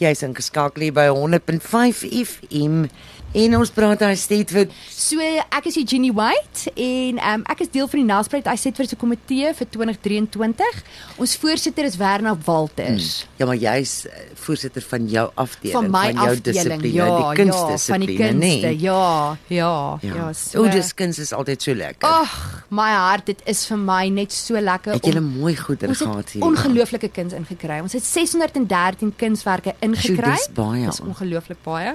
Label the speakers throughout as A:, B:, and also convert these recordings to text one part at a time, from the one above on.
A: Jy's ingeskakel hier by 100.5 FM en ons praat hy Stedwood.
B: So ek is Eugenie White en um, ek is deel van die Nelspruit Assetver se komitee vir 2023. Ons voorsitter is Werner Walters.
A: Ja, maar jy's eh, voorsitter van jou afdeling,
B: Van my
A: Hmm, jou
B: afdeling,
A: dissipline, die
B: ja, ja, van die
A: kunstdissipline,
B: kunste,
A: nee.
B: ja, ja, ja. Ah,
A: O, dis kuns is altyd so lekker.
B: Ag, my hart, dit is vir my net so lekker
A: het julle mooi goeder
B: Ons
A: gehad
B: het
A: hier.
B: ongelooflike kuns ingekry. Ons het 613 kunswerke ingekry.
A: dis baie. Ah.
B: Dis ongelooflik baie.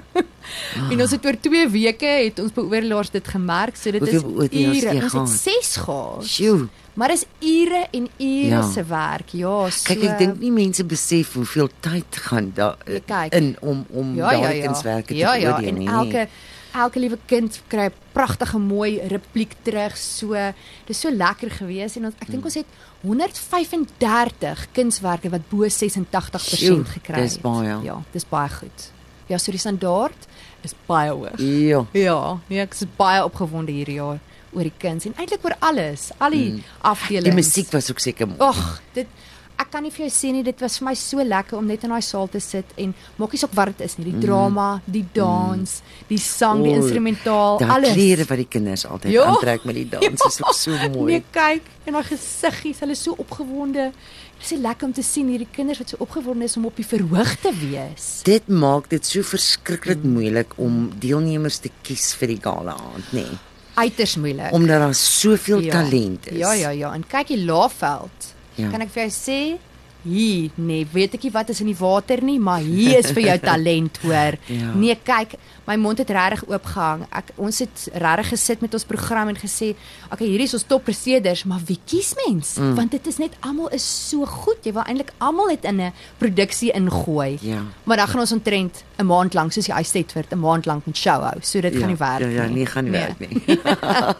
B: en ons het oor 2 weke het ons beoordelaars dit gemerk, so dit
A: Hoeveel
B: is
A: beoordelaars het jy
B: ure. Ons
A: gehad?
B: het 6 gehad.
A: Sjoe.
B: Maar dis ure en ure
A: Ja.
B: ja. se werk. Ja, so
A: Kyk, ek dink nie mense besef hoeveel tyd gaan daar eh,
B: Jy kyk.
A: in om om
B: ja, ja,
A: daai
B: ja.
A: kunswerke
B: ja,
A: te
B: ja,
A: oordeel
B: en
A: nie.
B: elke elke liewe kind kry 'n pragtige mooi repliek terug. So dis so lekker gewees en ons, ek dink
A: Hmm.
B: ons het 135 kunswerke wat bo 86%
A: Sjoe,
B: gekry het.
A: dis baie.
B: Ja, dis baie goed. Ja, so die standaard is baie hoog.
A: Ja.
B: Ja, nee, ek is baie opgewonde hierdie jaar oor die kuns en eintlik oor alles, al die mm. afdelings.
A: Hmm. Die musiek was ook seker mooi.
B: Ag, dit ek kan nie vir jou sê nie, dit was vir my so lekker om net in daai saal te sit en maak nie saak wat dit is nie,
A: Mhm.
B: die drama, die dans, die sang, die
A: O,
B: instrumentaal,
A: Daai
B: alles.
A: klere wat die kinders altyd
B: Ja.
A: aantrek met die dans is ook so mooi.
B: Nee, kyk, en daai gesiggies, hulle is so opgewonde. Dit is so lekker om te sien hierdie kinders wat so opgewonde is om op die verhoog te wees.
A: Dit maak dit so verskriklik moeilik om deelnemers te kies vir die gala aand, nê? Nee.
B: Uiters moeilik.
A: Omdat daar soveel ja. talent is.
B: Ja, ja, ja. En kyk die Laagveld.
A: Ja.
B: Ja. Kan ek vir jou sê, hier, nee, weet ek nie wat is in die water nie, maar hier is vir jou talent hoor.
A: Ja.
B: Nee, kyk, my mond het regtig oop gehang. Ek ons het regtig gesit met ons program en gesê, okay, hierdie is ons toppresteerders, maar wie kies mens? Mm. Want dit is net almal is so goed. Jy wil eintlik almal dit in 'n produksie ingooi.
A: Ja.
B: Maar dan gaan ons omtrent 'n maand lank soos die uitset word, 'n maand lank met show hou. So dit
A: Ja,
B: gaan nie werk
A: ja, ja,
B: nie. Nee.
A: nie gaan nie werk nie.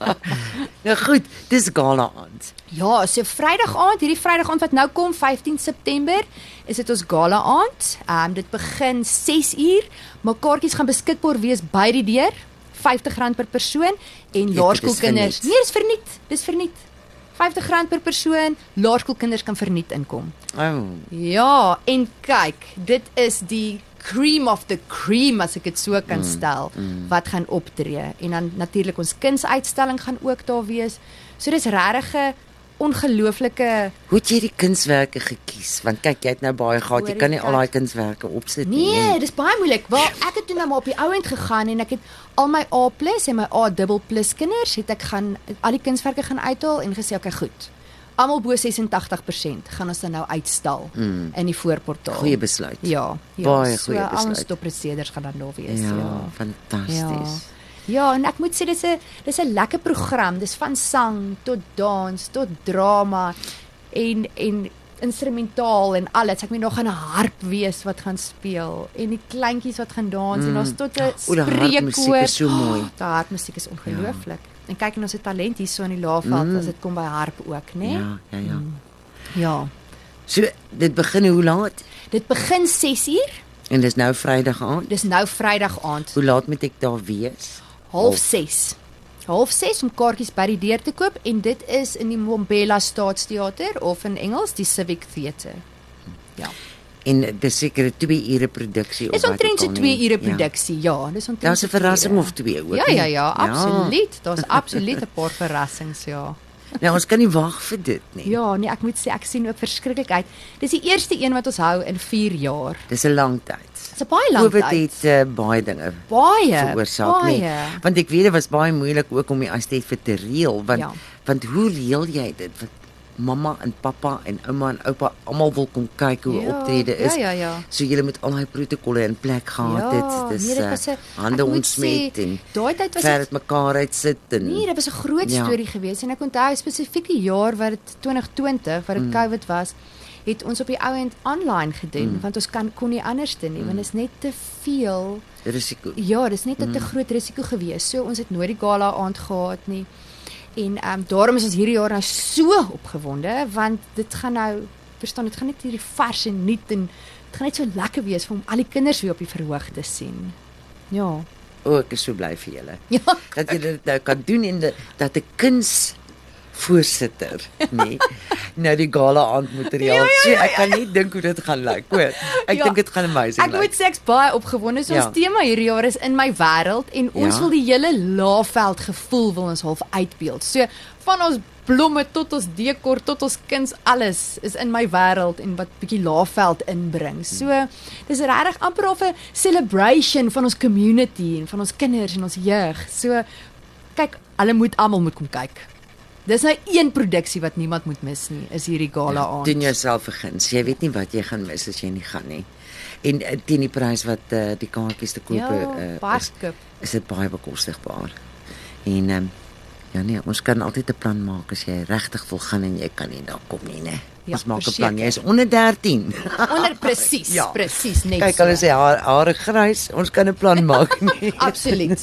A: nou goed, dis gala aand.
B: Ja, so Vrydag aand, hierdie Vrydag aand wat nou kom, 15 September, is dit ons gala aand. Ehm um, dit begin 6uur, maar kaartjies gaan beskikbaar wees by die deur, R50 per persoon en
A: dit is
B: laerskoolkinders.
A: verniet.
B: Nee, dis verniet. Dis verniet. R50 per persoon, laerskoolkinders kan verniet inkom.
A: Ou. Oh,
B: Ja, en kyk, dit is die cream of the cream as ek dit so kan stel mm. wat gaan optree en dan natuurlik ons kunsuitstalling gaan ook daar wees. So dis regtig 'n ongelooflike
A: hoe het jy die kunswerke gekies? Want kyk, jy het nou baie gehad, jy
B: Hoor,
A: kan nie
B: kyk.
A: al daai kunswerke opsit nie.
B: Nee, dis baie moeilik. Wel, ek het toe nou maar op die ou end gegaan en ek het al my A+ en my A++ kinders het ek gaan al die kunswerke gaan uithaal en gesê okay, goed. Almal bo 86% gaan ons dan nou uitstal mm. in die voorportaal.
A: Hmm. Goeie besluit.
B: Ja, ja.
A: Baie goeie
B: Al ons
A: besluit.
B: topreseerders gaan dan daar wees.
A: Ja,
B: Ja. Ja.
A: fantasties.
B: Ja, en ek moet sê dis 'n dis 'n lekker program. Dis van sang tot dans tot drama en en instrumentaal en alles. Ek meen daar gaan 'n harp wees wat gaan speel en die kleintjies wat gaan dans mm. en daar's tot 'n
A: O, die harpmusiek
B: spreekkoor.
A: is so mooi.
B: Oh, daai harpmusiek is ongelooflik. Ja. En kyk en ons het talent hierso in die Laagveld mm. as dit kom by harp ook, né?
A: Ja,
B: Nee?
A: ja, ja.
B: Ja. ja.
A: So, dit begin hoe laat?
B: Dit begin 6uur.
A: En dis nou Vrydag aand.
B: Dis nou Vrydag aand.
A: Hoe laat moet ek daar wees?
B: half 6. Half 6 om kaartjies by die deur te koop en dit is in die Mbombela Staatsteater of in Engels die Civic Theatre. Ja.
A: En dis seker 'n 2 ure produksie
B: Dis
A: of wat
B: omtrent so
A: ook al
B: 2
A: nie.
B: ure
A: Ja.
B: produksie. Ja, dis omtrent.
A: Daar's 'n
B: so twee
A: verrassing
B: ure.
A: of twee ook.
B: Ja,
A: nie?
B: ja, ja, absoluut. Daar's absoluut 'n paar verrassings, ja.
A: Ja. Nou ons kan nie wag vir dit nie. Ja.
B: Ja, nee, ek moet sê ek sien ook verskriklik uit. Dis die eerste een wat ons hou in 4 jaar.
A: Dis 'n lang tyd.
B: Dit's 'n baie lang
A: COVID
B: tyd.
A: het uh, baie dinge
B: Baie
A: veroorsaak nee. nie.
B: baie.
A: Want ek weet dit was baie moeilik ook om die Astef te reël want ja.
B: Ja.
A: want hoe reël jy dit? Want mamma en pappa en ouma en oupa almal wil kom kyk hoe ja,
B: Ja,
A: optrede is. Ah,
B: ja, ja, ja.
A: So jy moet al daai protokolle in plek gehad het. Dis
B: nee, dit was 'n-
A: eh,
B: ek
A: hande
B: moet
A: ontsmet
B: sê,
A: en
B: daai tyd was
A: ver
B: dit
A: uit mekaar uit sit en
B: Nee, dit was 'n groot
A: Ja.
B: ja. storie geweest en ek onthou spesifiek die jaar wat dit 2020 wat dit mm. COVID was, het ons op die ou end online gedoen mm. want ons kan kon nie anderste nie, mm. want dit is net te veel.
A: risiko.
B: Ja, dis net 'n te groot risiko geweest. So ons het nooit die gala aand gehad nie. En ehm um, daarom is ons hierdie jaar nou so opgewonde want dit gaan nou verstaan, dit gaan net hierdie vars en nuut en dit gaan net so lekker wees vir om al die kinders weer op die verhoog te sien. Ja.
A: O, ek is so bly vir julle.
B: Ja.
A: dat jy dit nou kan doen en dat- dat 'n kuns voorsitter, nê, nou die gala aand moet reël. So ek kan nie dink hoe dit gaan lyk, hoor. Ek
B: Ja.
A: dink dit gaan amazing
B: Ek
A: lyk.
B: moet sê ek's baie opgewonde. So
A: Ja.
B: ons tema hierdie jaar is in my wêreld en ons
A: Ja.
B: wil die hele laafveld gevoel wil ons half uitbeeld. So van ons blomme tot ons dekor tot ons kuns alles is in my wêreld en wat bietjie laafveld inbring. So dis regtig amper of 'n celebration van ons community en van ons kinders en ons jeug. So kyk, hulle moet almal moet kom kyk. Dis nou een produksie wat niemand moet mis nie, is hierdie gala aand.
A: Doen jouself vergins. Jy weet nie wat jy gaan mis as jy nie gaan nie. En eh, teen die prys wat uh, die kaartjies te koop
B: ja,
A: eh,
B: baie
A: is,
B: skip.
A: is dit baie bekostigbaar. En um, ja nee, ons kan altyd 'n plan maak as jy regtig wil gaan en jy kan nie daar kom nie, né?
B: Ja,
A: ons maak 'n
B: verseker.
A: plan. Jy is onder 13.
B: Onder presies,
A: Ja.
B: presies net.
A: Kyk,
B: so.
A: hulle sê haar hare grys. Ons kan 'n plan maak nie.
B: absoluut.